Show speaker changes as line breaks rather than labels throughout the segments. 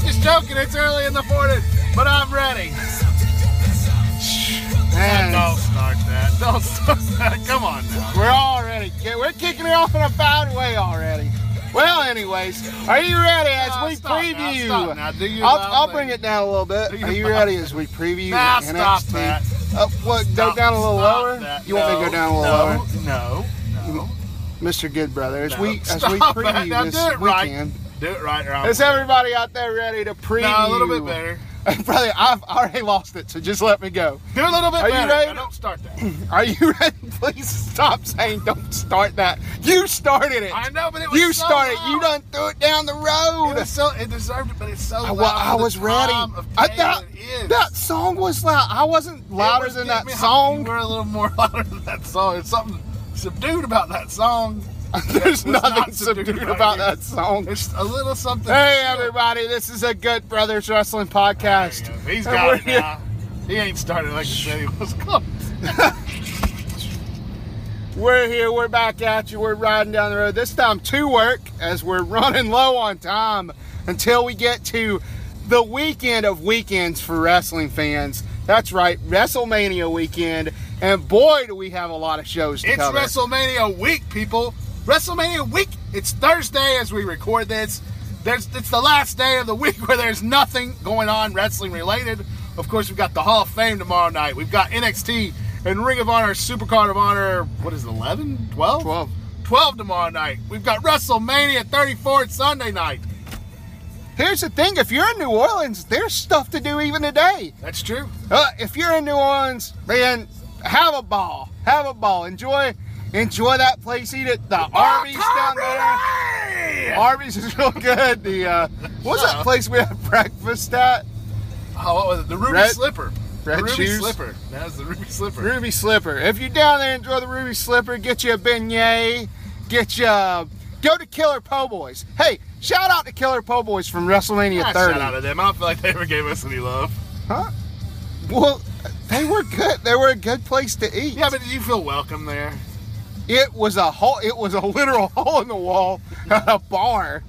just joking. It's early in the morning, but I'm ready. Man,
Don't start that. Don't start that. Come on now.
we're already ki- we're kicking it off in a bad way already. Well, anyways, are you ready as
No,
we
stop now,
preview?
stop now. Do your
I'll,
loud
I'll
thing.
bring it down a little bit.
Do your
Are you
loud
ready as we preview
Nah,
NXT?
stop that.
Uh, what? go
Stop-
down a little
stop
lower.
that.
You want me
No,
to go down a little
no,
lower?
No, no.
Mr. Goodbrother, as
No,
we as we
stop that.
preview
Now
this
do it right.
weekend,
Do it right or I'm
is everybody out there ready to preview?
No, a little bit better.
Brother, I've already lost it, so just let me go.
Do a little bit
Are you
better.
ready?
Now, don't start that.
Are you ready? Please stop saying don't start that. You started it.
I know, but it was
You
so
started.
loud.
You done threw it down the
It
road.
was so it deserved it, but it's so
I,
loud.
wa- I
for the
was ready.
time of
I
day
thought
it is.
that song was loud. I wasn't
It
louder
was
than
getting
that
me hot. You
song.
were a little more louder than that song. It's something subdued about that song.
There's
It was
nothing
not subdued
subdued
right
about
here.
that song.
It's a little something.
Hey everybody, this is a Good Brothers Wrestling podcast.
There you go. He's
And
got it
we're here-
now. He ain't started like you said he was close.
We're here, we're back at you, we're riding down the road. This time to work as we're running low on time until we get to the weekend of weekends for wrestling fans. That's right, WrestleMania weekend. And boy, do we have a lot of shows to
It's
cover.
WrestleMania week, people. WrestleMania week. It's Thursday as we record this. There's it's the last day of the week where there's nothing going on wrestling related. Of course, we've got the Hall of Fame tomorrow night. We've got NXT and Ring of Honor, Supercard of Honor, what is it, 11? 12?
12.
12 tomorrow night. We've got WrestleMania 34 Sunday night.
Here's the thing if you're in New Orleans, there's stuff to do even today.
That's true.
Uh, if you're in New Orleans, man, have a ball. Have a ball. Enjoy, enjoy that place. Eat at the Arby's down there.
there.
Arby's is real good. The uh, what's
Uh-huh.
that place we had breakfast at?
Oh, what was it? The Ruby
Red-
Slipper.
red
the Ruby
shoes.
Slipper. That was the Ruby Slipper.
Ruby Slipper. If you're down there, enjoy the Ruby Slipper. Get you a beignet. Get you. uh, Go to Killer Po' Boys. Hey, shout out to Killer Po' Boys from WrestleMania
Ah,
30.
Shout out to them. I don't feel like they ever gave us any love.
Huh? Well, they were good. They were a good place to eat.
Yeah, but did you feel welcome there?
It was a hole. It was a literal hole in the wall at a bar.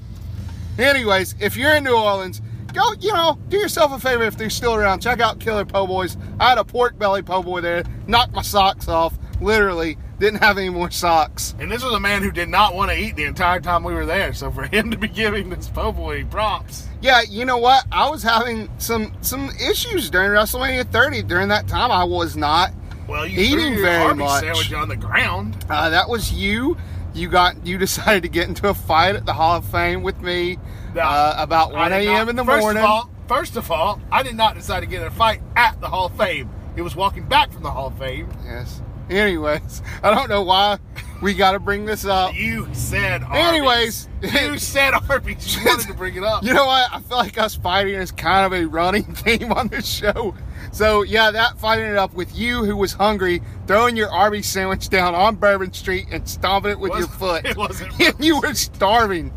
Anyways, if you're in New Orleans, go. You know, do yourself a favor if they're still around. Check out Killer Po' Boys. I had a pork belly po' boy there. Knocked my socks off. Literally, didn't have any more socks.
And this was a man who did not want to eat the entire time we were there. So for him to be giving this po' boy props,
Yeah, you know what? I was having some some issues during WrestleMania 30. During that time, I was not.
well, you threw
Eating
your
very
Arby's
much.
sandwich on the ground.
Uh, that was you. You got you decided to get into a fight at the Hall of Fame with me uh,
Now,
about
I
1
did
a.m.
not-
in the
first
morning.
Of all, first of all, I did not decide to get in a fight at the Hall of Fame. It was walking back from the Hall of Fame.
Yes. Anyways, I don't know why we got to bring this up.
You said Arby's.
Anyways.
you said Arby's. You wanted to bring it up.
You know what? I feel like us fighting is kind of a running theme on this show. So yeah, that fighting it up with you who was hungry, throwing your Arby's sandwich down on Bourbon Street and stomping it with
It
your
wasn't-
foot.
it wasn't
you were starving.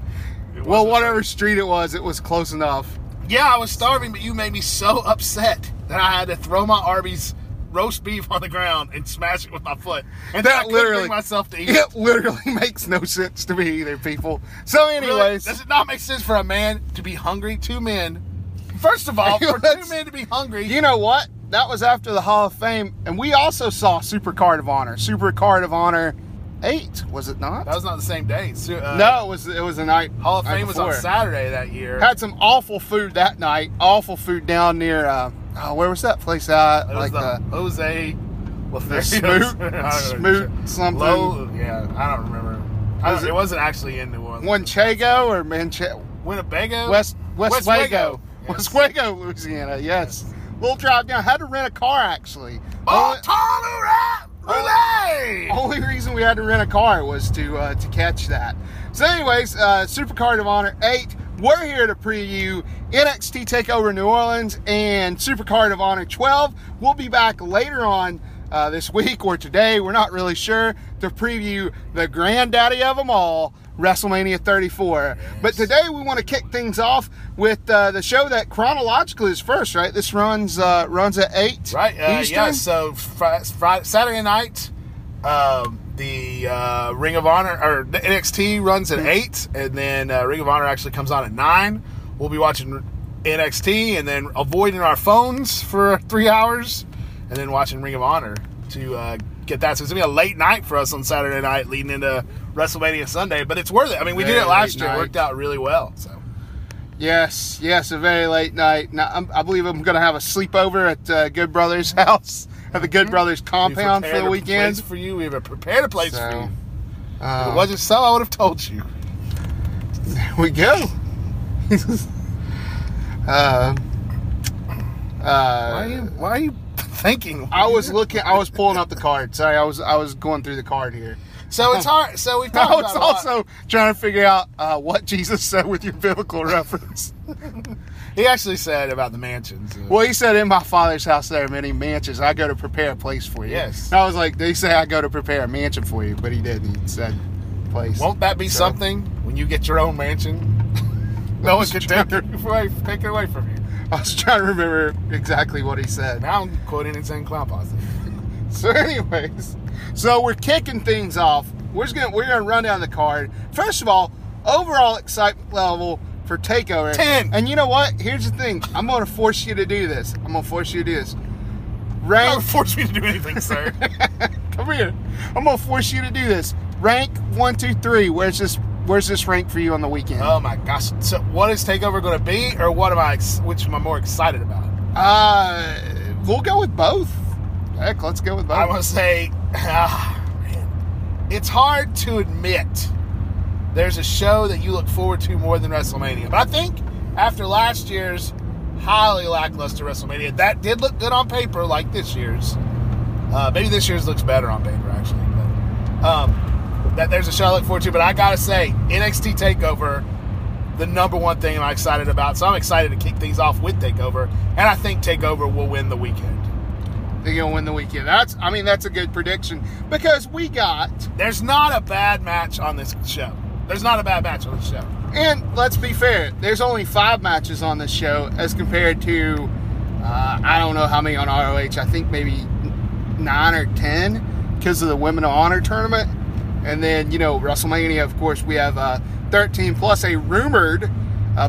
It
Well,
wasn't-
whatever street it was, it was close enough.
Yeah, I was starving, but you made me so upset that I had to throw my Arby's roast beef on the ground and smash it with my foot. And then I
That
couldn't
literally
bring myself to eat it.
It literally makes no sense to me either, people. So,
Really,
anyways,
does it not make sense for a man to be hungry? Two men. First of all, for two
Let's-
men to be hungry,
You know what? That was after the Hall of Fame, and we also saw Super Card of Honor. Super Card of Honor eight, was it not?
that was not the same day. So, uh,
no, it was. It was the night.
Hall of
night
Fame was on
before.
Saturday that year.
Had some awful food that night. Awful food down near. Uh, oh, where was that place at?
it was
Like
the
uh,
Jose
the
Lothario- I don't know.
Smoot, Smoot something.
Low, yeah, I don't remember. I
Was
don't,
it-
it wasn't actually in New Orleans.
Manchego or Manche
Winnebago,
West West, Wago,
Yes.
West Wago, Louisiana. Yes. Little drive down. Had to rent a car actually.
Oh,
Only-
Montana Relay!
only reason we had to rent a car was to uh, to catch that. So, anyways, uh, Supercard of Honor Eight. We're here to preview NXT Takeover New Orleans and Supercard of Honor 12. We'll be back later on uh, this week or today. We're not really sure to preview the granddaddy of them all, WrestleMania 34. But today we want to kick things off with uh, the show that chronologically is first, right? This runs uh, runs at eight.
Right, uh,
Eastern.
yeah, so Friday, Saturday night, um, the uh, Ring of Honor, or the
Hmm.
NXT runs at 8, and then uh, Ring of Honor actually comes on at 9. We'll be watching NXT and then avoiding our phones for three hours and then watching Ring of Honor to uh, get that. So it's going to be a late night for us on Saturday night leading into WrestleMania Sunday, but it's worth it. I mean, we did
Very
it last
late
year. It
night.
worked out really well. So
Yes, yes, a very late night. Now, I'm, I believe I'm going to have a sleepover at uh, Good Brothers' house at the Good Brothers
we
compound
Mm-hmm.
for
prepared
the
a
weekend.
place for you. We have a prepared a place for
So,
you. If it
um,
wasn't so, I would have told you.
there we go. uh,
Why are
uh,
you, why are you thinking?
I was looking. I was pulling up the card. Sorry, I was I was going through the card here.
So it's hard. So we've
I
talked
was
about a lot.
also trying to figure out uh, what Jesus said with your biblical reference.
He actually said about the mansions. uh,
Well, he said, "In my father's house there are many mansions. I go to prepare a place for you."
Yes.
And I was like, "They say I go to prepare a mansion for you," but he didn't. He said, "Place."
Won't that be
So-
something when you get your own mansion? no one can take it away, take it away from you.
I was trying to remember exactly what he said.
Now I'm quoting insane clown positive.
So, anyways, so we're kicking things off. We're just gonna we're gonna run down the card. First of all, overall excitement level for Takeover
10.
And you know what? Here's the thing. I'm gonna force you to do this. I'm gonna force you to do this. Rank
Don't force me to do anything, sir. Oh,
Come here. I'm gonna force you to do this. Rank one, two, three. Where's this? Where's this rank for you on the weekend?
oh my gosh! So what is Takeover going to be, or what am I? Ex- which am I more excited about?
Uh, we'll go with both. Heck, let's go with both.
I want to say, ah, man, it's hard to admit there's a show that you look forward to more than WrestleMania. But I think after last year's highly lackluster WrestleMania, that did look good on paper, like this year's. Uh, maybe this year's looks better on paper, actually. But, um, that there's a show I look forward to. But I gotta say, NXT Takeover, the number one thing I'm excited about. So I'm excited to kick things off with Takeover, and I think Takeover will win the weekend.
They're gonna win the weekend. That's. I mean, that's a good prediction because we got.
There's not a bad match on this show. There's not a bad match on this show.
And let's be fair. There's only five matches on this show as compared to. Uh, I don't know how many on ROH. I think maybe nine or ten because of the Women of Honor tournament. And then, you know, WrestleMania, of course, we have uh, 13 plus a rumored uh,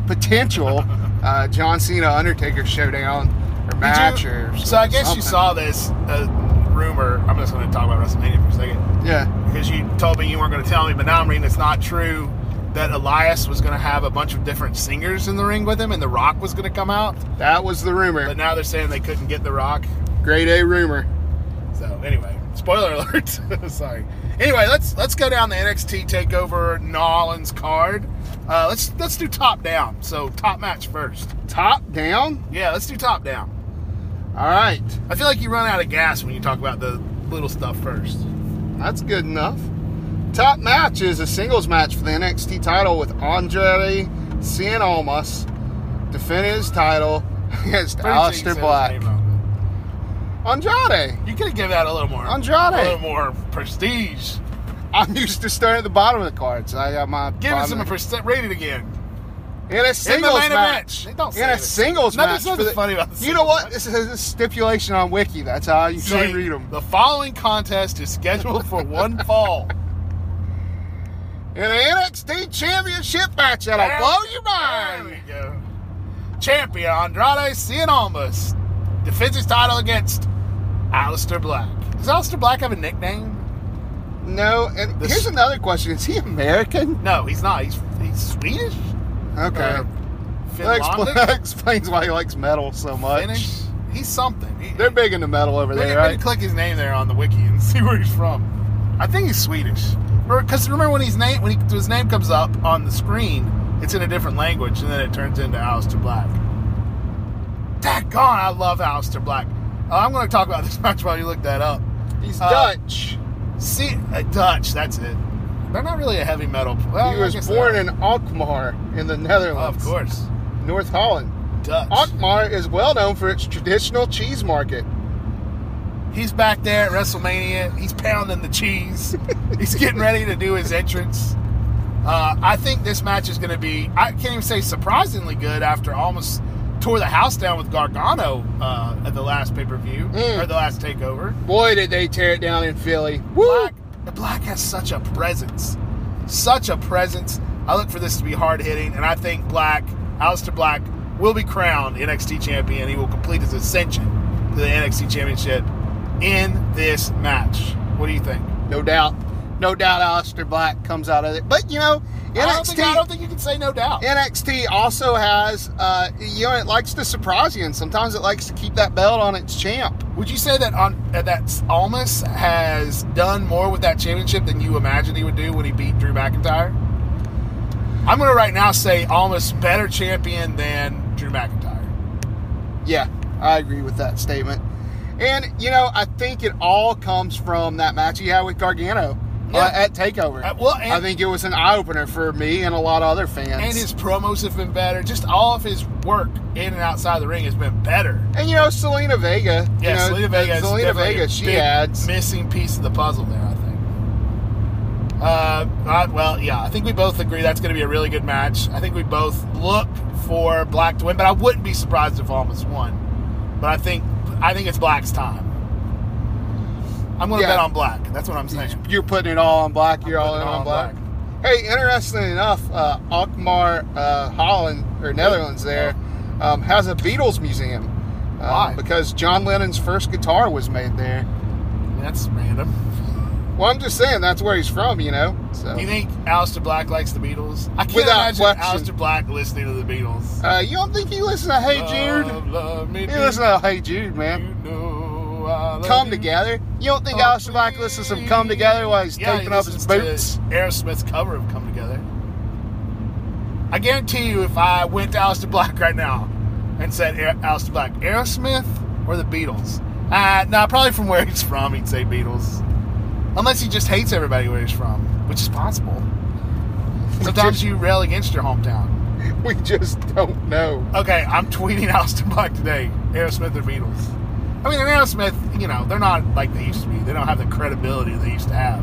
potential uh, John Cena Undertaker showdown or
Did
match
you-
or
so I guess you
something.
saw this uh, rumor. I'm just going to talk about WrestleMania for a second
Yeah.
because you told me you weren't going to tell me, but now I'm reading it's not true that Elias was going to have a bunch of different singers in the ring with him, and The Rock was going to come out.
That was the rumor.
But now they're saying they couldn't get The Rock.
Grade A rumor.
So anyway, spoiler alert. Sorry. Anyway, let's let's go down the NXT Takeover Nolans card. Uh, let's let's do top down. So top match first.
Top down?
Yeah, let's do top down.
All right.
I feel like you run out of gas when you talk about the little stuff first.
That's good enough. Top match is a singles match for the NXT title with Andre Cien Almas defending his title against Aleister Black. Andrade.
You could have given that a little more.
Andrade.
A little more prestige.
I'm used to starting at the bottom of the cards. I got my
Give
bottom
it some percent. Rate it again.
in a singles
main
match.
event. They don't say
in a
it.
singles
Nothing-
match.
nothing's
for the-
funny about the
You know
singles
what? This is a stipulation on Wiki. That's how you
Say,
should read them.
The following contest is scheduled for one fall.
In an NXT championship match that'll
There-
blow
There
your mind.
we go. Champion Andrade Cien Almas defends his title against Aleister Black. Does Aleister Black have a nickname?
No, and
This-
here's another question. Is he American?
No, he's not. He's he's Swedish.
Okay.
Uh,
That, expl-
Finlandic?
that explains why he likes metal so much.
Finnish. He's something. He,
They're big into metal over
they
there,
didn't
right?
click his name there on the wiki and see where he's from. I think he's Swedish. Because remember when his name when he, his name comes up on the screen, it's in a different language, and then it turns into Aleister Black. Daggone, I love Aleister Black. Uh, I'm going to talk about this match while you look that up.
He's
Uh,
Dutch.
See, uh, Dutch. That's it. They're not really a heavy metal. Well,
He
Oh, I
was
guess they
born
are.
in Alkmaar in the
Oh,
Netherlands,
of course,
North Holland.
Dutch.
Alkmaar is well known for its traditional cheese market.
He's back there at WrestleMania. He's pounding the cheese. He's getting ready to do his entrance. Uh, I think this match is going to be, I can't even say surprisingly good after almost tore the house down with Gargano uh, at the last pay per view,
Mm.
or the last takeover.
Boy, did they tear it down in Philly. Woo!
Black, Black has such a presence. Such a presence. I look for this to be hard hitting, and I think Black, Aleister Black, will be crowned NXT champion. He will complete his ascension to the NXT championship in this match. What do you think?
No doubt. No doubt Aleister Black comes out of it. But, you know, NXT.
I, don't think, I don't think you can say no doubt.
NXT also has, uh, you know, it likes to surprise you, and sometimes it likes to keep that belt on its champ.
Would you say that on uh, that Almas has done more with that championship than you imagined he would do when he beat Drew McIntyre? I'm going to right now say Almas better champion than Drew McIntyre.
Yeah, I agree with that statement. And you know, I think it all comes from that match he had with Gargano uh,
Yeah.
at Takeover.
Uh, well, and-
I think it was an eye opener for me and a lot of other fans.
And his promos have been better. Just all of his work in and outside the ring has been better.
And, you know, Selena Vega. you
Yeah,
know,
Selena Vega. is
Selena
definitely
Vega.
a
She
big
adds.
missing piece of the puzzle there. I think. Uh, I, well, yeah, I think we both agree that's going to be a really good match. I think we both look for Black to win, but I wouldn't be surprised if Almas won. But I think I think it's Black's time. I'm going to
Yeah.
bet on Black. That's what I'm saying.
You're putting it all on black. You're all in
putting it
on black. Hey, interesting enough, uh, Alkmaar, uh, Holland or Netherlands there um, has a Beatles museum. Um,
Why?
Because John Lennon's first guitar was made there.
That's random.
Well, I'm just saying that's where he's from, you know. So
You think Alistair Black likes the Beatles? I can't
Without
imagine
question.
Alistair Black listening to the Beatles.
uh, you don't think he listens to Hey Jude?
Love, love me
He
do.
listens to Hey Jude, man.
You know I love
Come
you.
Together. You don't think
Oh,
Alistair Black listens to Come Together while he's
Yeah, he
taping up his
listens to
boots?
Aerosmith's cover of Come Together. I guarantee you, if I went to Alistair Black right now and said Air- Alistair Black, Aerosmith or the Beatles? Uh, no, probably from where he's from, he'd say Beatles. Unless he just hates everybody where he's from, which is possible. Sometimes you rail against your hometown.
We just don't know.
Okay, I'm tweeting Alistair Black today Aerosmith or Beatles? I mean, and Aerosmith, you know, they're not like they used to be. They don't have the credibility they used to have.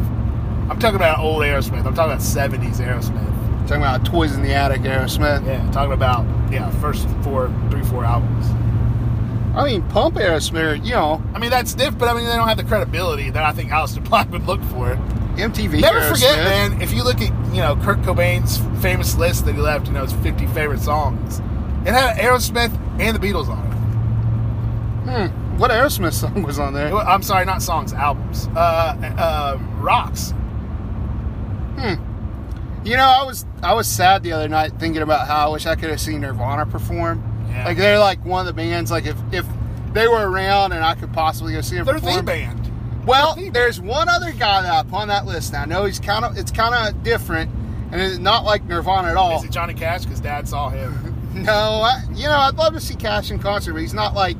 I'm talking about old Aerosmith. I'm talking about 70s Aerosmith.
Talking about Toys in the Attic, Aerosmith.
Yeah, talking about, yeah, first four, three, four albums.
I mean, Pump Aerosmith, you know,
I mean, that's diff, but I mean, they don't have the credibility that I think Alistair Black would look for.
MTV.
Never
Aerosmith.
forget, man. If you look at you know Kurt Cobain's famous list that he left, you know his 50 favorite songs. It had Aerosmith and the Beatles on it.
Hmm, what Aerosmith song was on
It
there?
wa- I'm sorry, not songs, albums. Uh, uh, rocks.
You know, I was I was sad the other night thinking about how I wish I could have seen Nirvana perform.
Yeah.
Like they're like one of the bands. Like if if they were around and I could possibly go see them
They're the
perform.
band.
Well,
They're the
there's one other guy that upon that list. Now I know he's kind of it's kind of different, and it's not like Nirvana at all.
Is it Johnny Cash? Because Dad saw him.
No, I, you know I'd love to see Cash in concert, but he's not like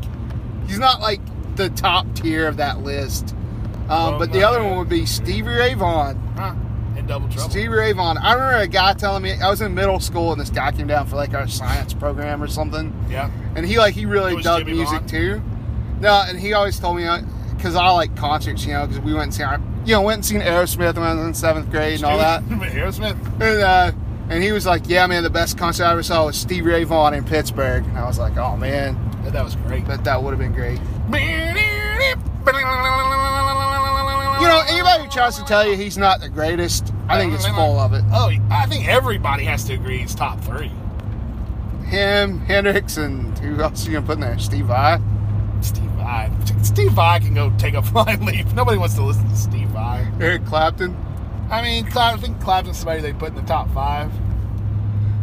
he's not like the top tier of that list. Um,
Oh
but the
my
other one would be Stevie Ray Vaughan.
Huh? In double trouble.
Stevie Ray Vaughan. I remember a guy telling me I was in middle school and this guy came down for like our science program or something,
Yeah.
and he like he
It
really
was
dug
Jimmy
music
Vaughan?
too. No, and he always told me because I like concerts, you know, because we went and seen our, you know went and seen Aerosmith when I was in seventh grade and all that,
Aerosmith.
and uh, and he was like, yeah, man, the best concert I ever saw was Stevie Ray Vaughan in Pittsburgh, and I was like, oh man,
Yeah, that was great.
bet that would have been great.
You
You know, anybody who tries to tell you he's not the greatest, I think is full of it.
Oh, I think everybody has to agree he's top three.
Him, Hendrix, and who else are you gonna put in there? Steve Vai.
Steve Vai. Steve Vai can go take a flying leap. Nobody wants to listen to Steve Vai.
Eric Clapton.
I mean, Cla- I think Clapton's somebody they put in the top five.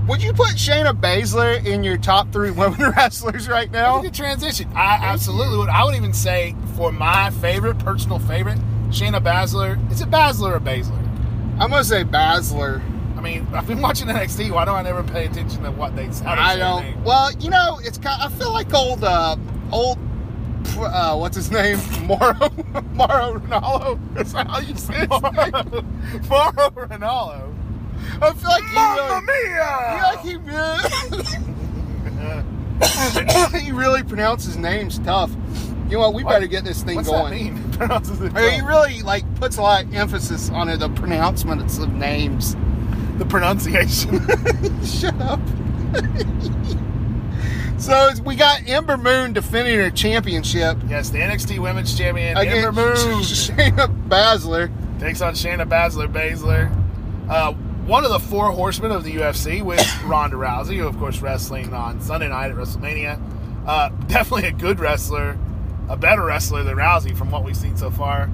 Would you put Shayna Baszler in your top three women wrestlers right
I
now?
think it transitioned. I absolutely would. I would even say for my favorite, personal favorite, Shayna Baszler. Is it Baszler or Baszler?
I'm gonna say Baszler.
I mean, I've been watching NXT. Why do I never pay attention to what they say?
I don't. Well, you know, it's kind. I feel like old, uh, old. Uh, what's his name? Mauro Mauro Ronaldo. Is that how you say his name?
Mauro uh, Ronaldo.
I feel like he
Mamma
really, I
mia!
feel like he really, he really pronounced his names tough. You know what? We
What?
better get this thing
What's that
going.
mean? Pronounces it
I mean, He
wrong.
really like puts a lot of emphasis on the pronouncements of names.
the pronunciation.
Shut up. so it's- we got Ember Moon defending her championship
yes, the NXT Women's Champion
against
Ember Moon
Shayna Baszler.
takes on Shayna Baszler. Baszler. Uh, one of the four horsemen of the UFC with Ronda Rousey, who of course wrestling on Sunday night at WrestleMania. Uh, definitely a good wrestler, a better wrestler than Rousey from what we've seen so far.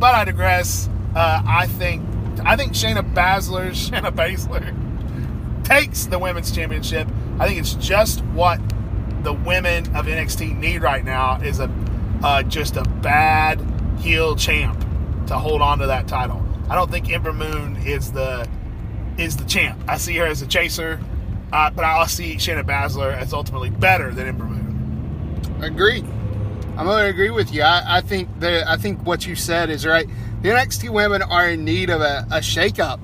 But I digress. Uh, I think I think Shayna Baszler, Shayna Baszler takes the women's championship. I think it's just what the women of NXT need right now is a uh, just a bad heel champ to hold on to that title. I don't think Ember Moon is the is the champ. I see her as a chaser, uh, but I see Shayna Baszler as ultimately better than Ember Moon.
Agreed. I'm gonna agree with you. I, I think the I think what you said is right. The NXT women are in need of a, a shakeup.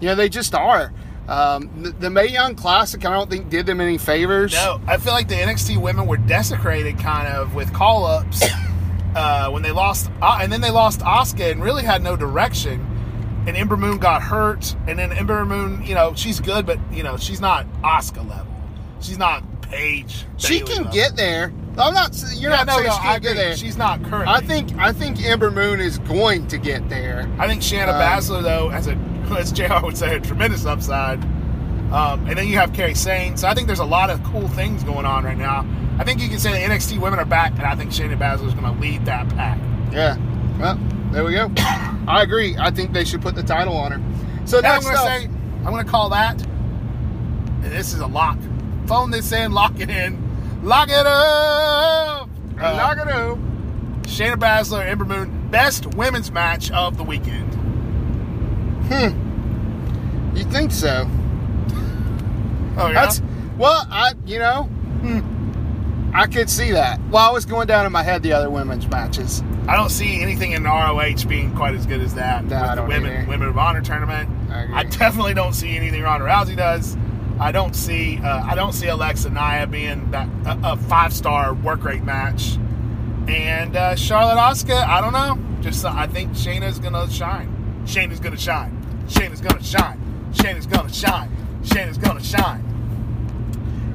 You know, they just are. Um, the, the Mae Young Classic, I don't think did them any favors.
No, I feel like the NXT women were desecrated kind of with call ups uh, when they lost, uh, and then they lost Asuka and really had no direction. And Ember Moon got hurt, and then Ember Moon, you know, she's good, but you know, she's not Asuka level. She's not Paige.
she
Bayley
can
level.
get there. I'm not. s- You're
Yeah,
not
no,
saying
no,
she
I
can
agree.
get there.
She's not current.
I think I think Ember Moon is going to get there.
I think Shanna
Um,
Baszler, though, has a as JR would say, a tremendous upside. Um, and then you have Kerry Sane. So I think there's a lot of cool things going on right now. I think you can say the NXT women are back, and I think Shayna Baszler is going to lead that pack.
Yeah. Well, there we go. I agree. I think they should put the title on her. So
Now I'm
next
going to
up,
say, I'm going to call that. And this is a lock. Phone this in, lock it in, lock it up. Uh,
Nagano.
Shayna Baszler, Ember Moon, best women's match of the weekend.
You think so?
Oh yeah,
That's well, I you know, hmm, I could see that. Well, I was going down in my head the other women's matches.
I don't see anything in ROH being quite as good as that
No,
with
I
the
don't
women
either.
women of honor tournament.
I agree.
I, definitely don't see anything Ronda Rousey does. I don't see uh, I don't see Alexa Nia being that a, a five star work rate match. And uh, Charlotte Oscar, I don't know. Just uh, I think Shayna's gonna shine. Shayna's gonna shine. Shayna's gonna shine. Shayna's gonna shine. Shayna's gonna shine.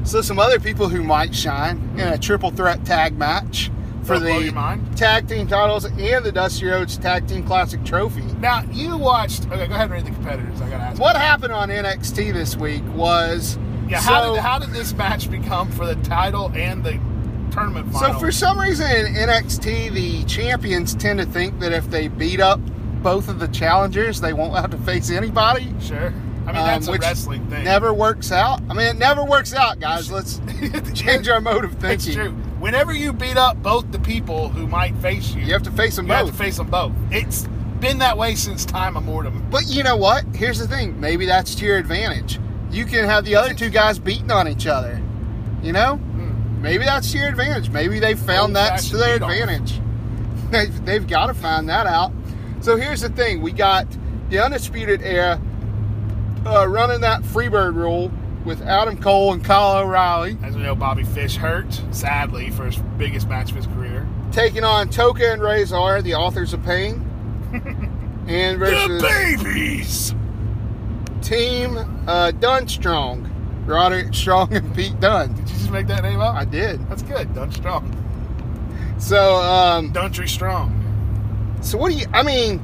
So some other people who might shine in a triple threat tag match for
Don't blow
the
your mind.
tag team titles and the Dusty Rhodes Tag Team Classic Trophy.
Now you watched. Okay, go ahead and read the competitors. I gotta ask.
What happened on NXT this week was
Yeah,
so,
how, did, how did this match become for the title and the tournament final?
So for some reason in NXT, the champions tend to think that if they beat up both of the challengers, they won't have to face anybody.
sure, I mean
um,
that's a
which
wrestling thing.
Never works out. I mean, it never works out, guys. Let's change our mode of thinking.
It's true. Whenever you beat up both the people who might face you,
You have to face them
you have
both.
to face them both. It's been that way since time immortal.
but you know what? Here's the thing. Maybe that's to your advantage. You can have the other two guys beating on each other. You know? Maybe that's to your advantage. Maybe they found that's to their
Old-fashioned beat-off.
advantage. They've, they've got to find that out. So here's the thing. We got the Undisputed Era uh, running that Freebird rule with Adam Cole and Kyle O'Reilly
As we know, Bobby Fish hurt sadly for his biggest match of his career.
taking on Toka and Razor, the authors of pain. and versus
The babies.
Team uh, Dunstrong, Roderick Strong and Pete Dunn.
Did you just make that name up?
I did.
That's good. Dun strong.
So, um,
Duntry strong.
so what do you? I mean,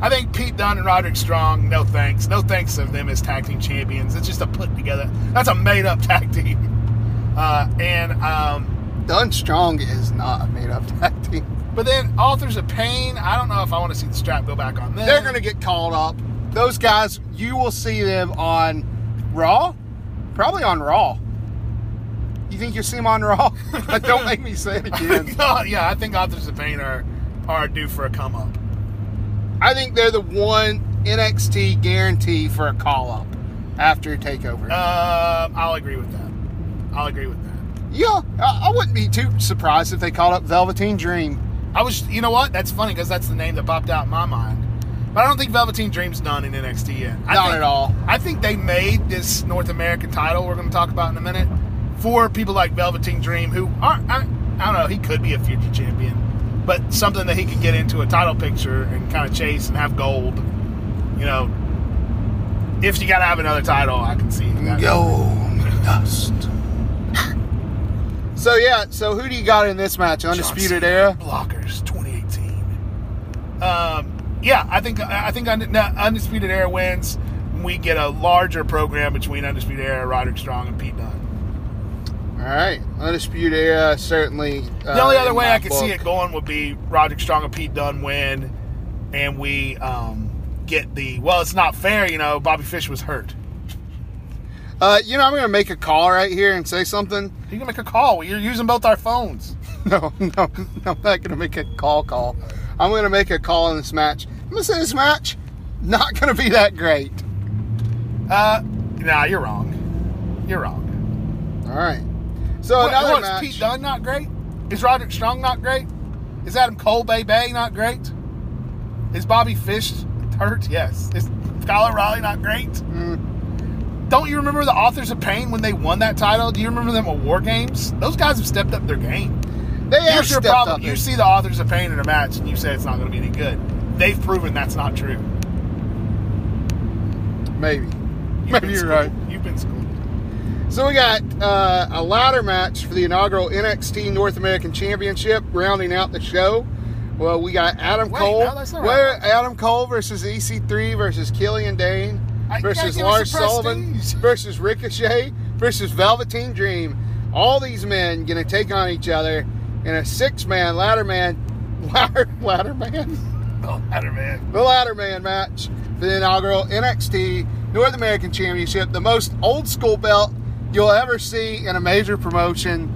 I think Pete Dunne and Roderick Strong, no thanks. No thanks of them as tag team champions. It's just a put together. That's a made up tag team. Uh, and um,
Dunstrong is not a made-up tag team.
but then authors of pain. I don't know if I want to see the strap go back on them.
They're gonna get called up. Those guys, you will see them on Raw, probably on Raw. You think you'll see them on Raw? Don't make me say it again.
Oh, yeah, I think authors of pain are are due for a come up.
I think they're the one NXT guarantee for a call-up after Takeover.
Um, I'll agree with that. I'll agree with that.
yeah, I, I wouldn't be too surprised if they called up Velveteen Dream.
I was, you know what? That's funny because that's the name that popped out in my mind. But I don't think Velveteen Dream's done in NXT yet. I
Not
think-
at all.
I think they made this North American title we're going to talk about in a minute for people like Velveteen Dream, who aren't, I, I don't know, he could be a future champion, but something that he could get into a title picture and kind of chase and have gold. You know, if you got to have another title, I can see that.
Gold dust. so yeah, so who do you got in this match? Undisputed Era.
Blockers 2018. Um, yeah, I think I think Und- no, Undisputed Era wins. we get a larger program between Undisputed Era, Roderick Strong, and Pete Dunne.
All right, Undisputed Era certainly. uh,
The only other way I could see it going would be Roderick Strong and Pete Dunne win, and we um, get the well. It's not fair, you know. Bobby Fish was hurt.
Uh, you know, I'm going to make a call right here and say something.
You can make a call. You're using both our phones.
No, no, no, I'm not going to make a call call. I'm going to make a call in this match. I'm going to say this match not going to be that great.
Uh, nah, you're wrong. You're wrong.
All right. So
What-
another
what,
match.
Is Oh, Pete Dunne not great? Is Roderick Strong not great? Is Adam Cole Bay Bay not great? Is Bobby Fish hurt? Yes. Is Kyle O'Reilly not great?
Mm.
Don't you remember the Authors of Pain when they won that title? Do you remember them at War Games? Those guys have stepped up their game.
they have
Here's your
stepped
problem.
up
You
it.
see the Authors of Pain in a match and you say it's not going to be any good. They've proven that's not true.
Maybe.
You've
Maybe
been
you're
schooled.
right.
You've been schooled.
So we got uh, a ladder match for the inaugural NXT North American Championship, rounding out the show. Well, we got Adam
Wait,
Cole.
no, that's not
Where
right.
Adam Cole versus EC3 versus Killian Dane
I- you gotta
versus
give us
Lars
the
Sullivan
prestige.
versus Ricochet versus Velveteen Dream. All these men gonna take on each other in a six-man ladder man ladder ladder man
Oh, ladder man.
the ladder man match for the inaugural NXT North American Championship, the most old school belt you'll ever see in a major promotion.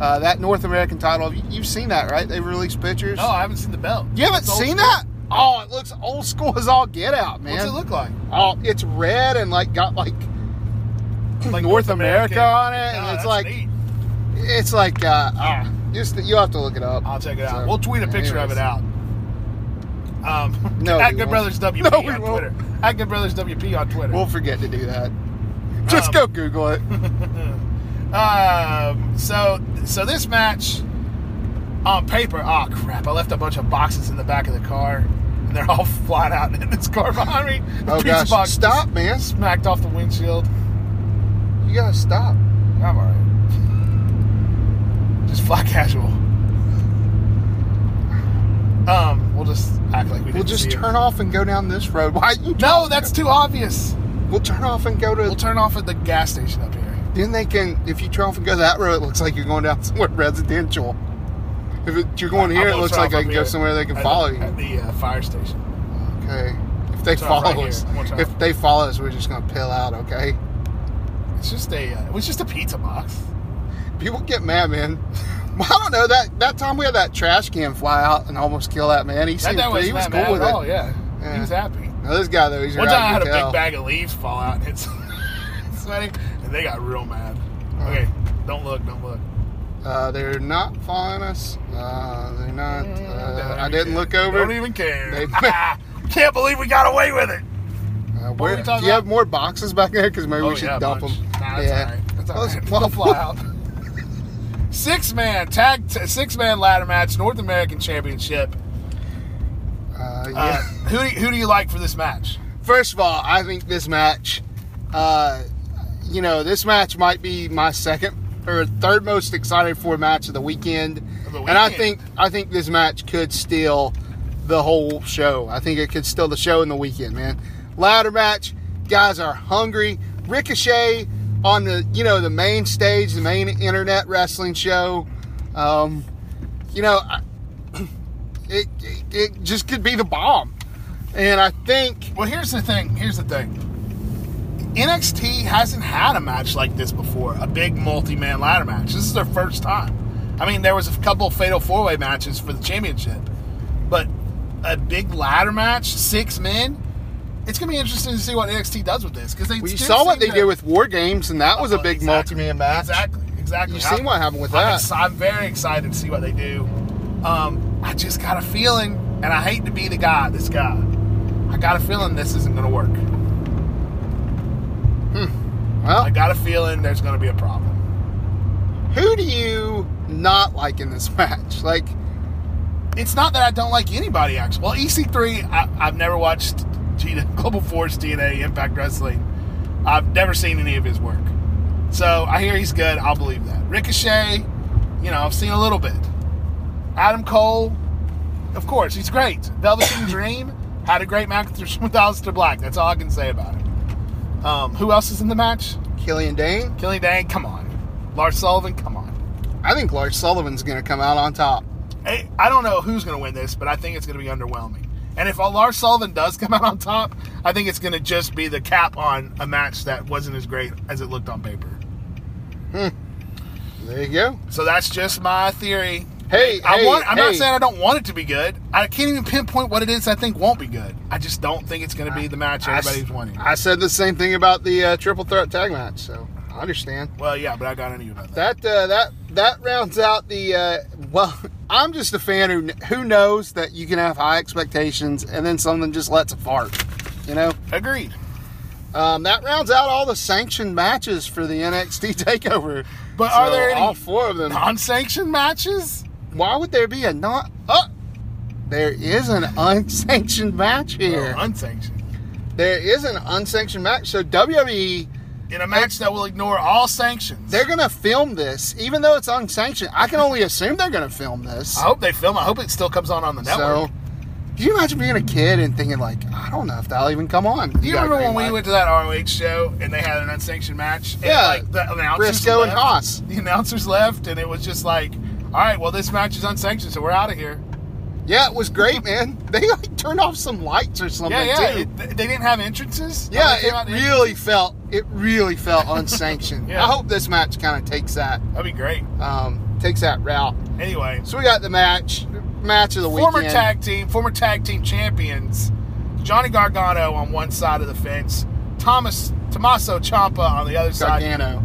Uh, that North American title, you- you've seen that, right? They've released pictures.
No, I haven't seen the belt.
you haven't
It's old
seen
school.
that? Oh, it looks old school as all get out, man.
What's it look like?
Oh, it's red and like got like North America on it, and
Nah,
it's
that's
like-
neat.
it's like uh, ah, just you have to look it up.
I'll check it out.
So,
we'll tweet a picture of
anyways.
it out. Um,
No,
at
we
Good
won't.
Brothers WP
No,
on
we won't.
Twitter. At Good Brothers WP on Twitter.
We'll forget to do that. Just
Um,
go Google it.
um, so so this match on paper. Oh crap! I left a bunch of boxes in the back of the car, and they're all flat out in this car behind me. The
Oh
pizza
gosh,
box
stop, man!
Smacked off the windshield.
You gotta stop.
I'm alright. Just fly casual. Um, we'll just act like we didn't
We'll just
see it.
turn off and go down this road. Why you?
No, that's too obvious.
We'll turn off and go to.
We'll turn off at the gas station up here.
then they can. If you turn off and go that road, it looks like you're going down somewhere residential. If it, you're going here,
I
it
will
looks
turn
like
off
I
up
can go
here
somewhere they can
at the-
follow you.
At the uh, fire station.
Okay. If they
Turn off right
follow us,
here. I'm gonna turn
if
off.
they follow us, we're just gonna pill out. Okay.
It's just a. Uh, it was just a pizza box.
People get mad, man. Well, I don't know that that time we had that trash can fly out and almost kill that man. He
That
seemed
guy was
he was
mad
cool with
at all.
it.
Yeah.
Yeah.
he was happy.
Now, this guy though, he's
One
right,
time I
you
had a
tell.
big bag of leaves fall out and it's sweaty, and they got real mad.
Uh-huh.
Okay, don't look, don't look.
Uh, they're not following us. Uh, they're not. Uh,
Don't
I
even
didn't
care.
look over. Uh,
Don't even care.
They-
Can't believe we got away with it.
Uh,
were
where,
we
do
talking
you have
about?
more boxes back there? Because maybe
Oh,
we should
yeah, a
dump
bunch.
them.
Nah, that's all
yeah,
right. That's all
Let's-
right. We'll fly out. Six man tag, t- six man ladder match, North American Championship.
Uh, yeah.
Uh, who do you, who do you like for this match?
First of all, I think this match, uh, you know, this match might be my second or third most excited for match of the weekend.
Of the
And I
weekend.
think I think this match could steal the whole show. I think it could steal the show in the weekend, man. Ladder match, guys are hungry. Ricochet on the you know the main stage, the main internet wrestling show. Um, you know, I, it, it it just could be the bomb. And I think
Well, here's the thing. Here's the thing. NXT hasn't had a match like this before, a big multi-man ladder match. This is their first time. I mean, there was a couple of fatal four-way matches for the championship, but a big ladder match, six men. It's gonna be interesting to see what NXT does with this because they
We
still
saw what
seem
they
to-
did with War Games, and that was a big
Exactly.
multi-man match.
Exactly, exactly.
You've seen what happened with
I'm
that.
exci- I'm very excited to see what they do. Um, I just got a feeling, and I hate to be the guy, this guy. I got a feeling this isn't going to work. I
Well,
got a feeling there's going to be a problem.
who do you not like in this match? Like,
It's not that I don't like anybody, actually. Well, EC3, I, I've never watched G- Global Force, TNA, Impact Wrestling. I've never seen any of his work. So I hear he's good. I'll believe that. Ricochet, you know, I've seen a little bit. Adam Cole, of course, he's great. Velveteen Dream had a great match with Aleister Black. That's all I can say about him. Um, who else is in the match?
Killian Dane.
Killing Dang, come on. Lars Sullivan, come on.
I think Lars Sullivan's going to come out on top.
Hey, I don't know who's going to win this, but I think it's going to be underwhelming. And if Lars Sullivan does come out on top, I think it's going to just be the cap on a match that wasn't as great as it looked on paper.
There you go.
So that's just my theory.
Hey,
I
hey,
want, I'm not
hey.
saying I don't want it to be good. I can't even pinpoint what it is I think won't be good. I just don't think it's going to be the match
I s-
everybody's wanting.
I said the same thing about the uh, triple threat tag match, so I understand.
well, yeah, but I got into you about that.
That uh, that that rounds out the uh, well. I'm just a fan who who knows that you can have high expectations and then something just lets a fart. You know,
Agreed.
um, that rounds out all the sanctioned matches for the NXT Takeover.
But are
So,
there any-
all four of them?
Non-sanctioned matches?
Why would there be a not? Oh, there is an unsanctioned match here.
Or Oh, unsanctioned.
there is an unsanctioned match. So WWE
In a match that will ignore all sanctions.
They're gonna film this, even though it's unsanctioned. I can only assume they're gonna film this.
I hope they film. I hope it still comes on on the network.
So, can you imagine being a kid and thinking like, I don't know if that'll even come on?
you
got a
remember
green
when we
light.
went to that ROH show and they had an unsanctioned match? And
Yeah,
like the announcers
Briscoe and
left?
Haas?
The announcers left, and it was just like, all right, well, this match is unsanctioned, so we're out of here.
Yeah, it was great, man. They like turned off some lights or something
Yeah, yeah.
too.
it- they didn't have entrances.
Oh, yeah,
Nobody came out
it
in-
really felt it really felt unsanctioned.
Yeah.
I hope this match kind of takes that
That'd be great.
um, takes that route.
Anyway,
So we got the match match of the
former
weekend.
tag team, former tag team champions, Johnny Gargano on one side of the fence, Thomas Tommaso Ciampa on the other side.
Gargano.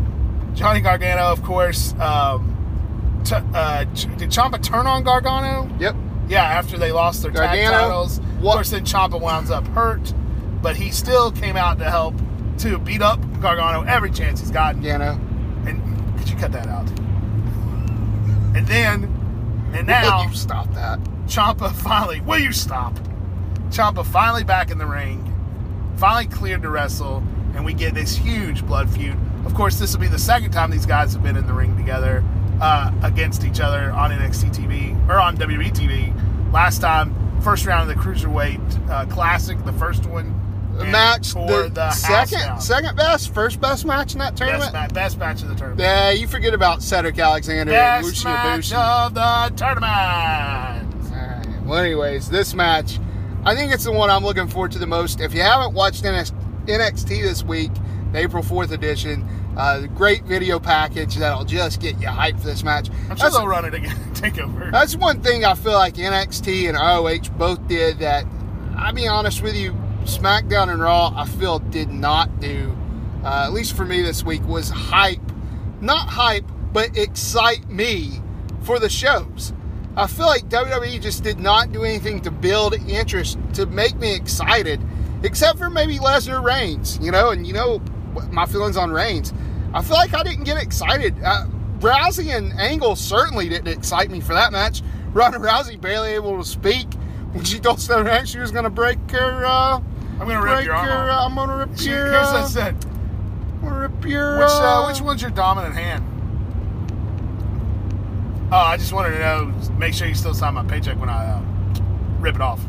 Johnny Gargano, of course. Um, t- uh, Ch- did Ciampa turn on Gargano?
Yep.
Yeah, after they lost their tag
Gargano,
titles.
what-
Of course, then Ciampa winds up hurt, but he still came out to help to beat up Gargano every chance he's gotten.
Gargano.
And could you cut that out? And then, and now,
you stop that.
Ciampa finally. Will you stop? Ciampa finally back in the ring, finally cleared to wrestle, and we get this huge blood feud. Of course, this will be the second time these guys have been in the ring together uh, against each other on NXT TV or on WWE TV. Last time, first round of the cruiserweight uh, classic, the first one.
The
and
match
tore
the,
house
second
down.
second best, first best match in that
best,
tournament.
ma- best match of the tournament.
Yeah, you forget about Cedric Alexander
best
and Lucio
match
Bushi.
of the tournament.
Alright, Well, anyways, this match, I think it's the one I'm looking forward to the most. If you haven't watched NS- NXT this week, the April 4th edition, uh, the great video package that'll just get you hyped for this match.
I'm sure
That's,
they'll run it again. Take over.
that's one thing I feel like NXT and ROH both did that, I'll be honest with you, SmackDown and Raw, I feel did not do, uh, at least for me this week, was hype. Not hype, but excite me for the shows. I feel like WWE just did not do anything to build interest, to make me excited, except for maybe Lesnar Reigns, you know, and you know what my feelings on Reigns. I feel like I didn't get excited. Uh, Rousey and Angle certainly didn't excite me for that match. Ronda Rousey barely able to speak. When she told Stone Hanks she was going to break her, uh,
I'm gonna rip
break
your arm.
her,
off.
uh, I'm going to rip
She-
your,
Here's what I
uh,
said.
I'm gonna rip your,
Which uh,
uh,
which one's your dominant hand? Oh, I just wanted to know. Make sure you still sign my paycheck when I uh, rip it off.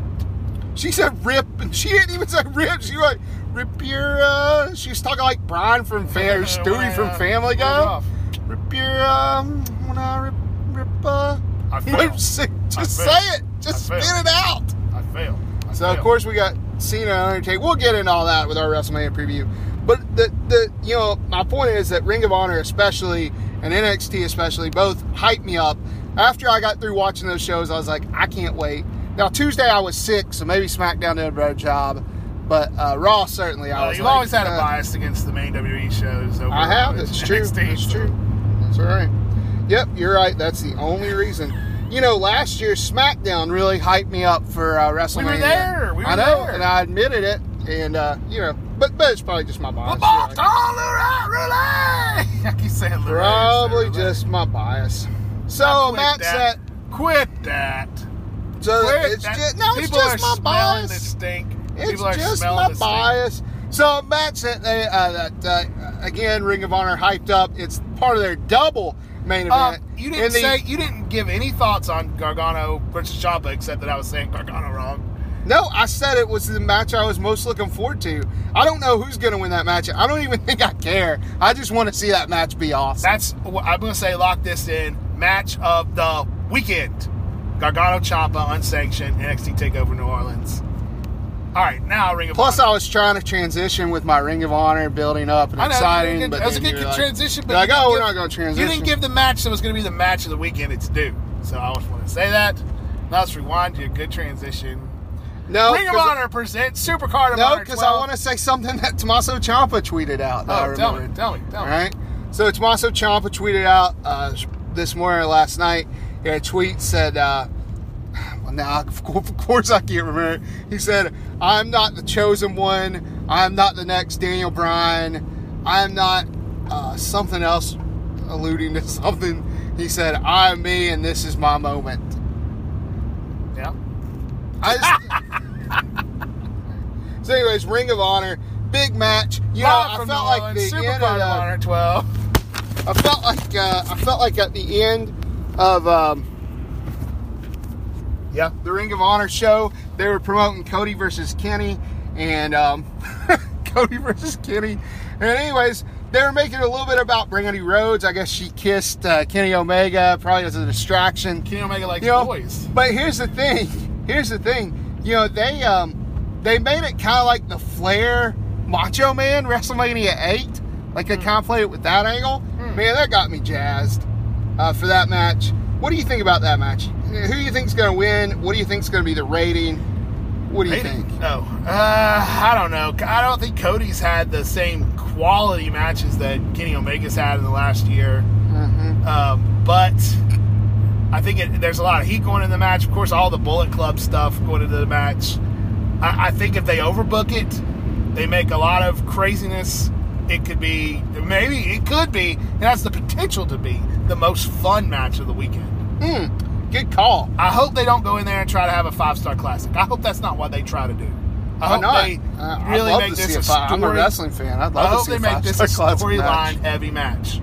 She said rip, and she didn't even say rip. She like rip your. Uh, she was talking like Brian from Family, Stewie from Family
Rip it
Guy.
off.
Rip your. Um, when I rip, rip. Uh,
I
rip
failed.
sick.
I
Just
failed.
say it. Just
I
spit
failed.
it out.
I failed. I
So of
failed.
course we got Cena and Undertaker. We'll get into all that with our WrestleMania preview. But the the you know my point is that Ring of Honor especially and NXT especially both hyped me up. After I got through watching those shows, I was like, I can't wait. Now Tuesday I was sick, so maybe SmackDown did a better job, but uh, Raw certainly I
Uh,
was.
you've
like,
always had a
uh,
bias against the main WWE shows. Over
I have.
it's
It's true. It's true. That's all right. Yep, you're right. That's the only reason. You know, last year SmackDown really hyped me up for uh, WrestleMania.
there. We were
I know,
there.
and I admitted it. And uh, you know, but but it's probably just my bias.
Bob's
You're
all
right.
right, relay. I keep saying relay instead of
Probably
relay.
just my bias. So
Quit
match
that.
set.
Quit that.
So
Quit
it's
that.
just no, it's
People
just
are
my
smelling
bias.
The stink.
It's
People are
just
smelling
my
the stink.
bias. So match that they uh, that uh, again Ring of Honor hyped up. It's part of their double main
Um,
event.
you
In
didn't
the-
say you didn't give any thoughts on Gargano versus Ciampa, except that I was saying Gargano wrong,
No, I said it was the match I was most looking forward to. I don't know who's going to win that match. I don't even think I care. I just want to see that match be awesome.
That's what I'm gonna say. Lock this in. Match of the weekend: Gargano Ciampa, unsanctioned NXT Takeover New Orleans. All right, now Ring of
Plus,
Honor.
I was trying to transition with my Ring of Honor building up and
I know,
exciting.
you did-
but
that was a
then
good
you're like-
transition, but
you're like,
you didn't
oh, we're
give-
not going to transition.
you didn't give the match that was gonna be the match of the weekend its due. So I just want to say that. Now let's rewind to a good transition.
no,
Ring of
'cause-
Honor presents Supercard of
No,
Honor.
because I want to say something that Tommaso Ciampa tweeted out. that I
Oh, tell me,
remembered.
tell me, tell
All
me.
right. So Tommaso Ciampa tweeted out uh, this morning or last night. He had a tweet said, uh, well, now, of cour- of course I can't remember. it. He said, I'm not the chosen one. I'm not the next Daniel Bryan. I'm not uh, something else alluding to something. He said, I'm me and this is my moment.
Yeah.
I just, so, anyways, Ring of Honor, big match. You know,
Live
I
from
felt
New
like
Orleans,
the
Supercard
end
of
of the-
Honor 12.
I felt like uh, I felt like at the end of um,
Yeah.
the Ring of Honor show, they were promoting Cody versus Kenny, and um, Cody versus Kenny. And anyways, they were making a little bit about Brandy Rhodes. I guess she kissed uh, Kenny Omega, probably as a distraction.
Kenny Omega likes
You know,
boys.
But here's the thing. Here's the thing. You know, they um they made it kind of like the Flair Macho Man WrestleMania 8. Like
Hmm.
they kind of played it with that angle. Man, that got me jazzed uh, for that match. What do you think about that match? Who do you think's going to win? What do you think's going to be the rating? What do you
Rating?
think?
No. Uh, I don't know. I don't think Cody's had the same quality matches that Kenny Omega's had in the last year.
Mhm.
Um, but I think it, there's a lot of heat going in the match. Of course, all the Bullet Club stuff going into the match. I, I think if they overbook it, they make a lot of craziness. It could be, maybe it could be, it has the potential to be the most fun match of the weekend.
Hmm. Good call.
I hope they don't go in there and try to have a five star classic. I hope that's not what they try to do. I
Why
hope
not?
they
Uh, I'd
really
love
make
to
this
see
a
a fi- I'm a
story-
wrestling fan. I'd love
I
to
hope
see
they
a
make this a
five-star classic match.
storyline heavy match.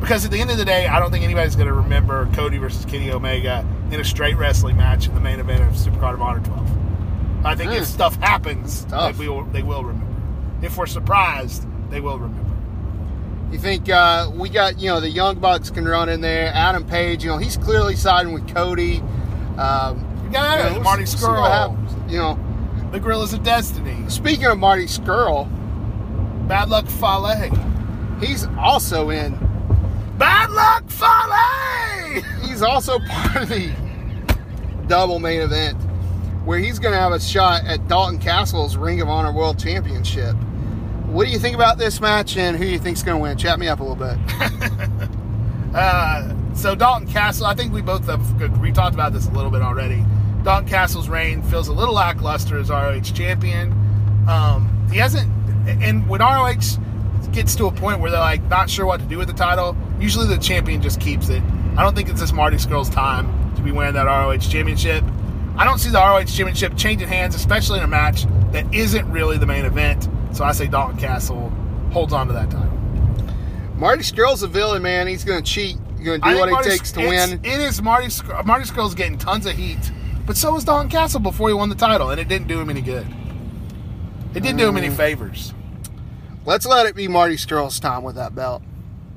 Because at the end of the day, I don't think anybody's going to remember Cody versus Kenny Omega in a straight wrestling match in the main event of Supercard of Honor 12. I think
Mm.
if stuff happens,
tough.
that we will, they will remember. If we're surprised, they will remember.
You think uh, we got you know the young bucks can run in there? Adam Page, you know he's clearly siding with Cody. Um,
Yeah,
you know, we'll
Marty
see- we'll see what
Skrull,
happens. You know,
the Gorillas of Destiny,
speaking of Marty Skrull,
Bad Luck Fale.
he's also in.
Bad Luck Fale!
He's also part of the double main event where he's going to have a shot at Dalton Castle's Ring of Honor World Championship. What do you think about this match, and who do you think's going to win? Chat me up a little bit.
Uh, so Dalton Castle, I think we both have we talked about this a little bit already. Dalton Castle's reign feels a little lackluster as ROH champion. Um, he hasn't, and when ROH gets to a point where they're like not sure what to do with the title, usually the champion just keeps it. I don't think it's this Marty Skrull's time to be wearing that ROH championship. I don't see the ROH championship changing hands, especially in a match that isn't really the main event. So I say Dalton Castle holds on to that title.
Marty Skrull's a villain, man. He's going to cheat. He's going to
I
do
think
what
Marty-
it takes to
it's-
win.
It is Marty. Skr- Marty Skrull's getting tons of heat, but so was Don Castle before he won the title, and it didn't do him any good. It didn't do him
Mm.
any favors.
Let's let it be Marty Skrull's time with that belt.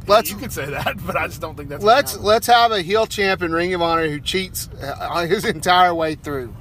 Let's
you can say that, but I just don't think that's. gonna
let's
happen.
let's have a heel champ in Ring of Honor who cheats uh, his entire way through.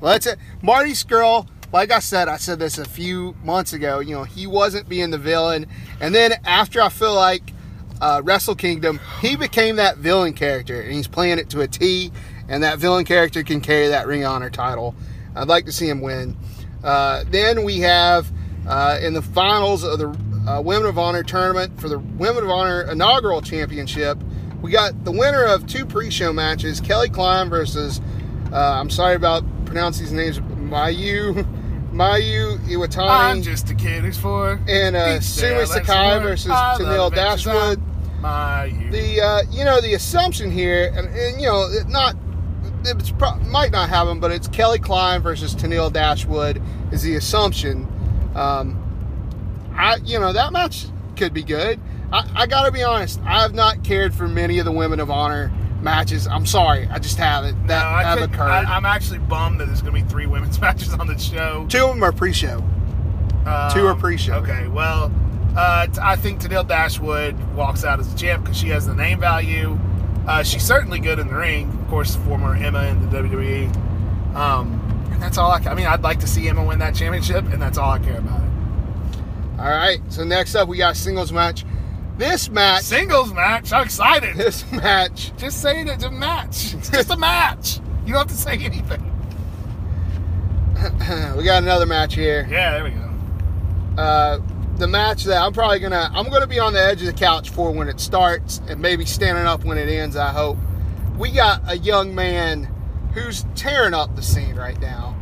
Let's Marty Skrull. Like I said, I said this a few months ago. You know, he wasn't being the villain, and then after I feel like uh, Wrestle Kingdom, he became that villain character, and he's playing it to a T. And that villain character can carry that Ring of Honor title. I'd like to see him win. Uh, then we have uh, in the finals of the uh, Women of Honor tournament for the Women of Honor inaugural championship. We got the winner of two pre-show matches: Kelly Klein versus. Uh, I'm sorry about pronouncing these names. Mayu, Mayu
I'm
Iwatani,
just a kid who's four.
and uh,
Each day I
Sumi
learn some
Sakai
more.
versus
I love
Tanil
adventures
Dashwood.
on My youth.
The uh, you know the assumption here, and, and you know it not. It's pro- might not have them, but it's Kelly Klein versus Tennille Dashwood is the assumption. Um, I you know that match could be good. I, I got to be honest. I have not cared for many of the women of honor matches. I'm sorry, I just haven't. That
No, I
have
think,
occurred.
I, am actually bummed that there's going to be three women's matches on the show.
Two of them are pre-show. two are
Um,
pre-show.
Okay, well, uh, t- I think Tennille Dashwood walks out as a champ because she has the name value. Uh, she's certainly good in the ring. Of course, former Emma in the WWE. Um, and that's all I ca- I mean, I'd like to see Emma win that championship, and that's all I care about it.
All right. So next up, we got a singles match. This match.
Singles match. I'm excited.
this match.
just say that it's a match. It's just a match. You don't have to say anything.
We got another match here.
Yeah, there we go.
Uh, the match that I'm probably gonna. I'm gonna be on the edge of the couch for when it starts, and maybe standing up when it ends. I hope. We got a young man who's tearing up the scene right now.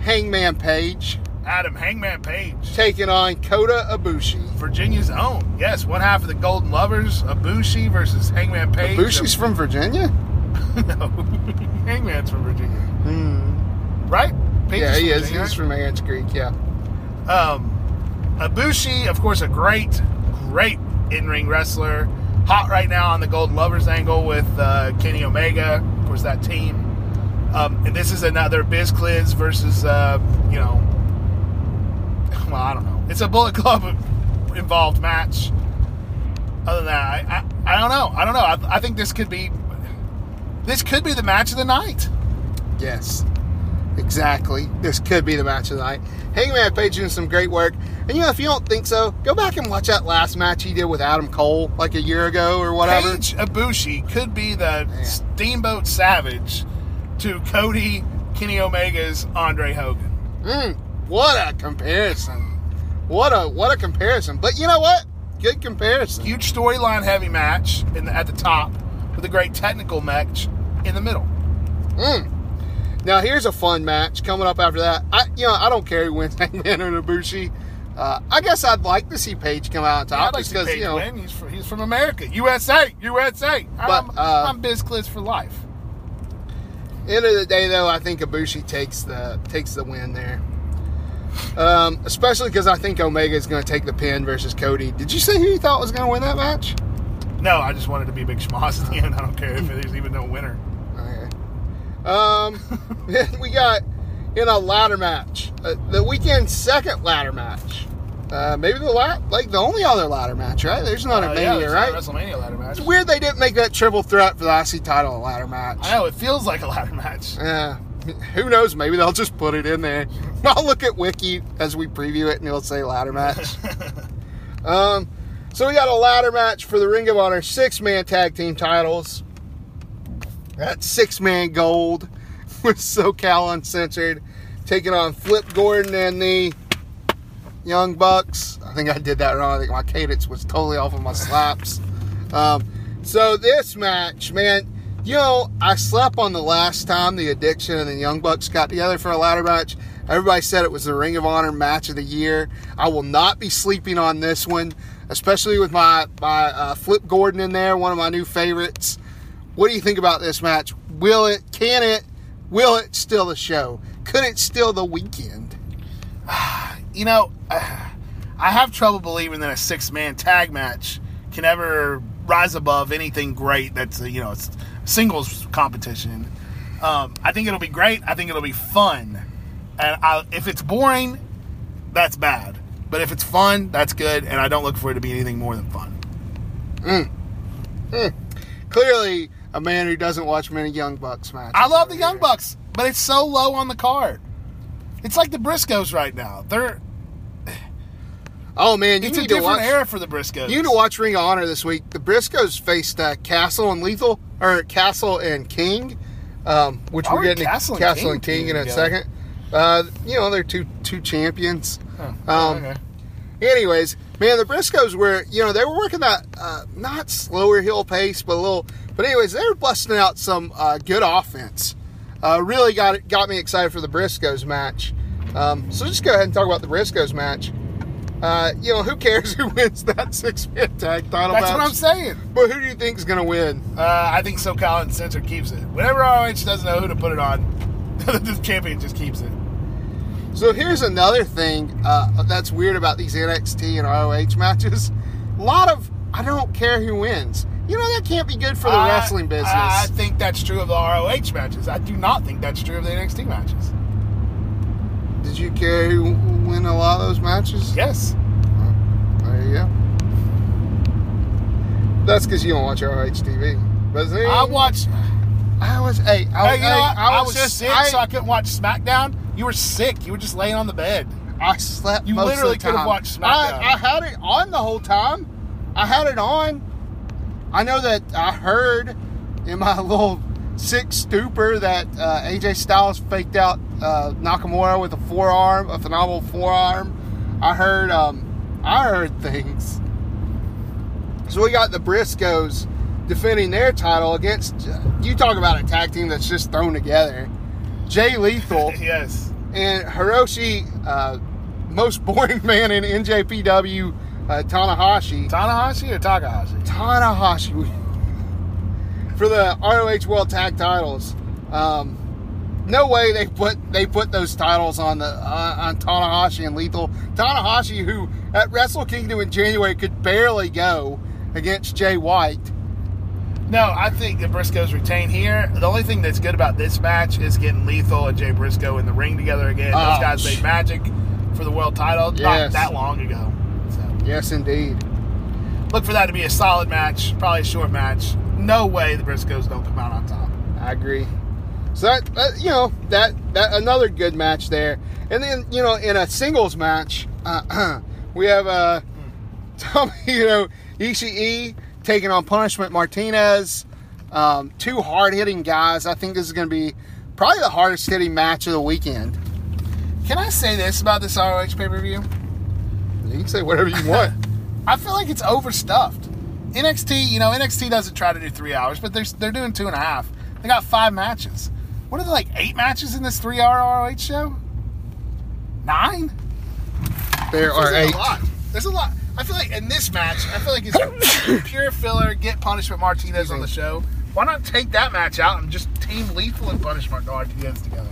Hangman Page
Adam Hangman Page.
taking on Kota Ibushi.
Virginia's own. Yes, one half of the Golden Lovers, Abushi versus Hangman Page.
Ibushi's from Virginia.
no, Hangman's from Virginia, right? Hmm. Page
Yeah, he is.
Virginia,
He's
right?
from Ants Creek. Yeah.
Um, Abushi, of course, a great, great in-ring wrestler. Hot right now on the Golden Lovers angle with uh, Kenny Omega. Of course, that team. Um, and this is another Biz Cliz versus, uh, you know, well, I don't know. It's a Bullet Club involved match. Other than that, I, I, I don't know. I don't know. I, I think this could be, this could be the match of the night.
Yes, exactly. This could be the match of the night. Hangman Page doing some great work. And you know, if you don't think so, go back and watch that last match he did with Adam Cole like a year ago or whatever.
Page Ibushi could be the Steamboat Savage to Cody, Kenny Omega's Andre Hogan.
Mm, what a comparison! What a what a comparison! But you know what? Good comparison.
Huge storyline heavy match in the, at the top with a great technical match in the middle.
Now here's a fun match coming up after that. I you know I don't care who wins Hangman or Ibushi. Uh, I guess I'd like to see Page come out on
I'd
top
like
just
to see
because
Page
you know
win. He's from, he's from America. USA, USA. I'm,
uh,
I'm Biz Cliz for life.
End of the day, though, I think Ibushi takes the takes the win there. Um, especially because I think Omega is going to take the pin versus Cody. Did you say who you thought was going to win that match?
No, I just wanted to be a big schmoz at the end. I don't care if there's even no winner.
Okay. Um, then we got in a ladder match, uh, the weekend's second ladder match. Uh, maybe the la- like the only other ladder match, right? There's not a
Uh,
Mania,
there's not a
right?
WrestleMania ladder match.
It's weird they didn't make that triple threat for the IC title a ladder match.
I know it feels like a ladder match.
Yeah. Who knows? Maybe they'll just put it in there. I'll look at Wiki as we preview it and it'll say ladder match. um, so we got a ladder match for the Ring of Honor six man tag team titles. That six man gold with SoCal Uncensored taking on Flip Gordon and the Young Bucks. I think I did that wrong. I think my cadence was totally off of my slaps. Um, so this match, man, you know, I slept on the last time the Addiction and the Young Bucks got together for a ladder match. Everybody said it was the Ring of Honor match of the year. I will not be sleeping on this one, especially with my my uh, Flip Gordon in there, one of my new favorites. What do you think about this match? Will it? Can it? Will it steal the show? Could it steal the weekend?
you know, I have trouble believing that a six man tag match can ever rise above anything great that's, you know, it's singles competition. Um, I think it'll be great. I think it'll be fun. And I, if it's boring, that's bad. But if it's fun, that's good. And I don't look for it to be anything more than fun.
Clearly, a man who doesn't watch many Young Bucks matches.
I love the
over
Young
here.
Bucks, but it's so low on the card. It's like the Briscoes right now. They're
Oh man, you
it's a
need to
different
watch.
era for the Briscoes.
You need to watch Ring of Honor this week. The Briscoes faced uh, Castle and Lethal, or Castle and King, um, which
Why
we're
were
getting to
Castle and
Castle
King
and King in a
together?
second. Uh, you know, they're two two champions.
Oh,
Um,
okay.
Anyways, man, the Briscoes were, you know, they were working that uh, not slower hill pace, but a little. But anyways, they were busting out some uh, good offense. Uh, really got it, got me excited for the Briscoes match. Um, so just go ahead and talk about the Briscoes match. Uh, you know, who cares who wins that six man tag title
That's
match?
what I'm saying.
But who do you think is going to win?
Uh, I think SoCal and Censor keeps it. Whenever ROH doesn't know who to put it on, the champion just keeps it.
So here's another thing uh, that's weird about these NXT and ROH matches. A lot of I don't care who wins. You know that can't be good for the
I-
wrestling business.
I think that's true of the ROH matches. I do not think that's true of the NXT matches.
Did you care who win a lot of those matches?
Yes.
Well, There you go. That's because you don't watch ROH TV. But see,
I watched.
I was eight. I,
hey, you know
hey,
what?
I
I
was,
was sick,
I,
so I couldn't watch SmackDown. You were sick. You were just laying on the bed.
I slept.
You
most
literally
of the
could've
time.
watched SmackDown.
I, I had it on the whole time. I had it on. I know that I heard in my little sick stupor that uh, AJ Styles faked out uh, Nakamura with a forearm, a phenomenal forearm. I heard. Um, I heard things. So we got the Briscoes defending their title against. uh, You talk about a tag team that's just thrown together. Jay Lethal
Yes.
and Hiroshi, uh, most boring man in NJPW, uh, Tanahashi.
Tanahashi or Takahashi?
Tanahashi for the ROH World Tag Titles. Um, no way they put they put those titles on the uh, on Tanahashi and Lethal. Tanahashi, who at Wrestle Kingdom in January could barely go against Jay White.
No, I think the Briscoes retain here. The only thing that's good about this match is getting Lethal and Jay Briscoe in the ring together again.
Oh,
Those guys
sh-
made magic for the world title not
Yes.
that long ago. So
Yes, indeed.
look for that to be a solid match, probably a short match. No way the Briscoes don't come out on top.
I agree. So that, that you know that that another good match there, and then you know in a singles match, uh, we have uh, Tommy, you know Ishii taking on Punishment Martinez, um, two hard hitting guys. I think this is going to be probably the hardest hitting match of the weekend.
Can I say this about this ROH pay per view?
You can say whatever you want.
I feel like it's overstuffed. NXT, you know, NXT doesn't try to do three hours, but they're, they're doing two and a half. They got five matches. What are there, like eight matches in this three hour ROH show? Nine?
there are
There's
eight.
a lot. There's a lot. I feel like in this match, I feel like it's pure filler. Get Punishment Martinez on the show. Why not take that match out and just team Lethal and Punishment Martinez together?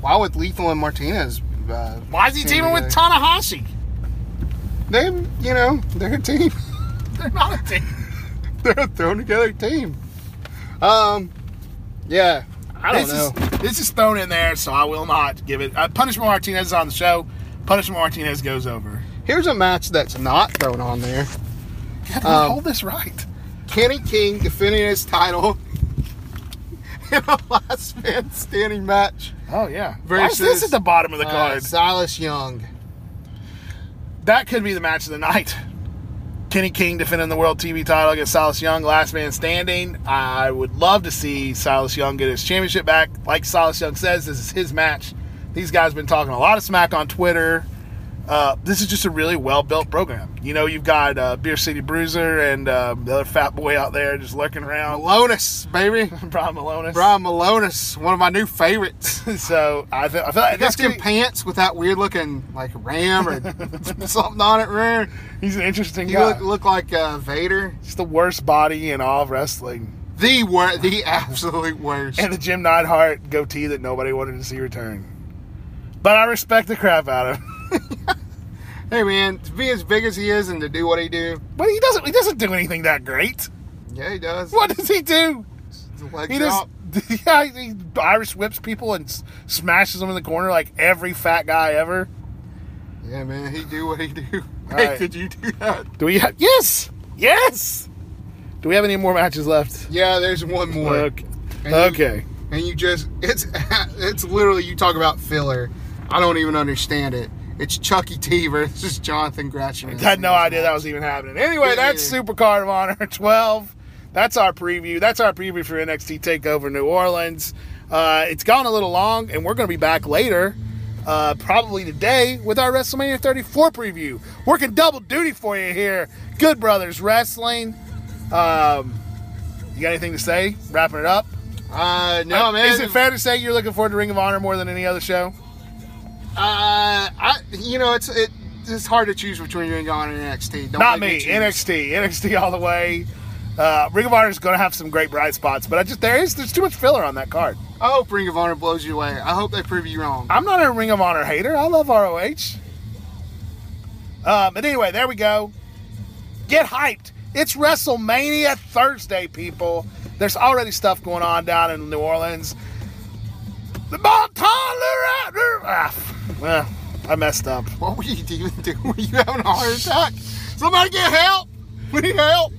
Why would Lethal and Martinez? Uh,
Why is he
team
teaming with
together?
Tanahashi?
They, you know, they're a team.
They're not a team.
they're a thrown together team. Um, yeah, I don't
this
know.
Is, this is thrown in there, so I will not give it. Uh, Punishment Martinez is on the show. Punishment Martinez goes over.
Here's a match that's not thrown on there.
God, we
Um,
hold this right.
Kenny King defending his title in a last man standing match.
Oh yeah.
versus-
Why is this at the bottom of the
Uh,
card?
Silas Young.
that could be the match of the night. Kenny King defending the world TV title against Silas Young, last man standing. I would love to see Silas Young get his championship back. Like Silas Young says, this is his match. These guys been talking a lot of smack on Twitter. Uh, this is just a really well built program. You know, you've got uh, Beer City Bruiser and um, the other fat boy out there just lurking around,
Malonis, baby.
Brian Malonis.
Brian Malonis, one of my new favorites.
So I, th- I feel like
This
this could
can
be-
pants with that weird looking like ram or something on it. Rare.
he's an interesting
You
guy.
look, look like uh, Vader.
he's the worst body in all of wrestling.
The wor- the absolute worst.
and the Jim Neidhart goatee that nobody wanted to see return. But I respect the crap out of him.
hey man, to be as big as he is and to do what he do,
But he doesn't. He doesn't do anything that great.
yeah, he does.
What does he do?
His legs
He
out.
just yeah, he Irish whips people and s- smashes them in the corner like every fat guy ever.
Yeah, man, he do what he do.
All
hey,
right.
could you do that?
Do we have? Yes, yes. Do we have any more matches left?
Yeah, there's one more.
Okay.
And you-
Okay.
and you just it's it's literally you talk about filler. I don't even understand it. It's Chucky E. T versus Jonathan Gresham.
I had no idea that was even happening. Anyway,
Yeah,
that's
yeah.
Super Card of Honor 12. That's our preview. That's our preview for NXT Takeover New Orleans. Uh, it's gone a little long, and we're going to be back later, uh, probably today, with our WrestleMania 34 preview. Working double duty for you here, Good Brothers Wrestling. Um, you got anything to say? Wrapping it up.
Uh, no, man.
Is it fair to say you're looking forward to Ring of Honor more than any other show?
Uh, I you know it's it, it's hard to choose between Ring of Honor and NXT. Don't
Not
make
me.
choose.
NXT. NXT all the way. Uh, Ring of Honor is going to have some great bright spots, but I just there is there's too much filler on that card.
I hope Ring of Honor blows you away. I hope they prove you wrong.
I'm not a Ring of Honor hater. I love ROH. Um, but anyway, there we go. Get hyped. It's WrestleMania Thursday, people. There's already stuff going on down in New Orleans. The Montana Raptor. Ah, well, I messed up.
What were you even doing? Were you having a heart attack? Somebody get help! We need help!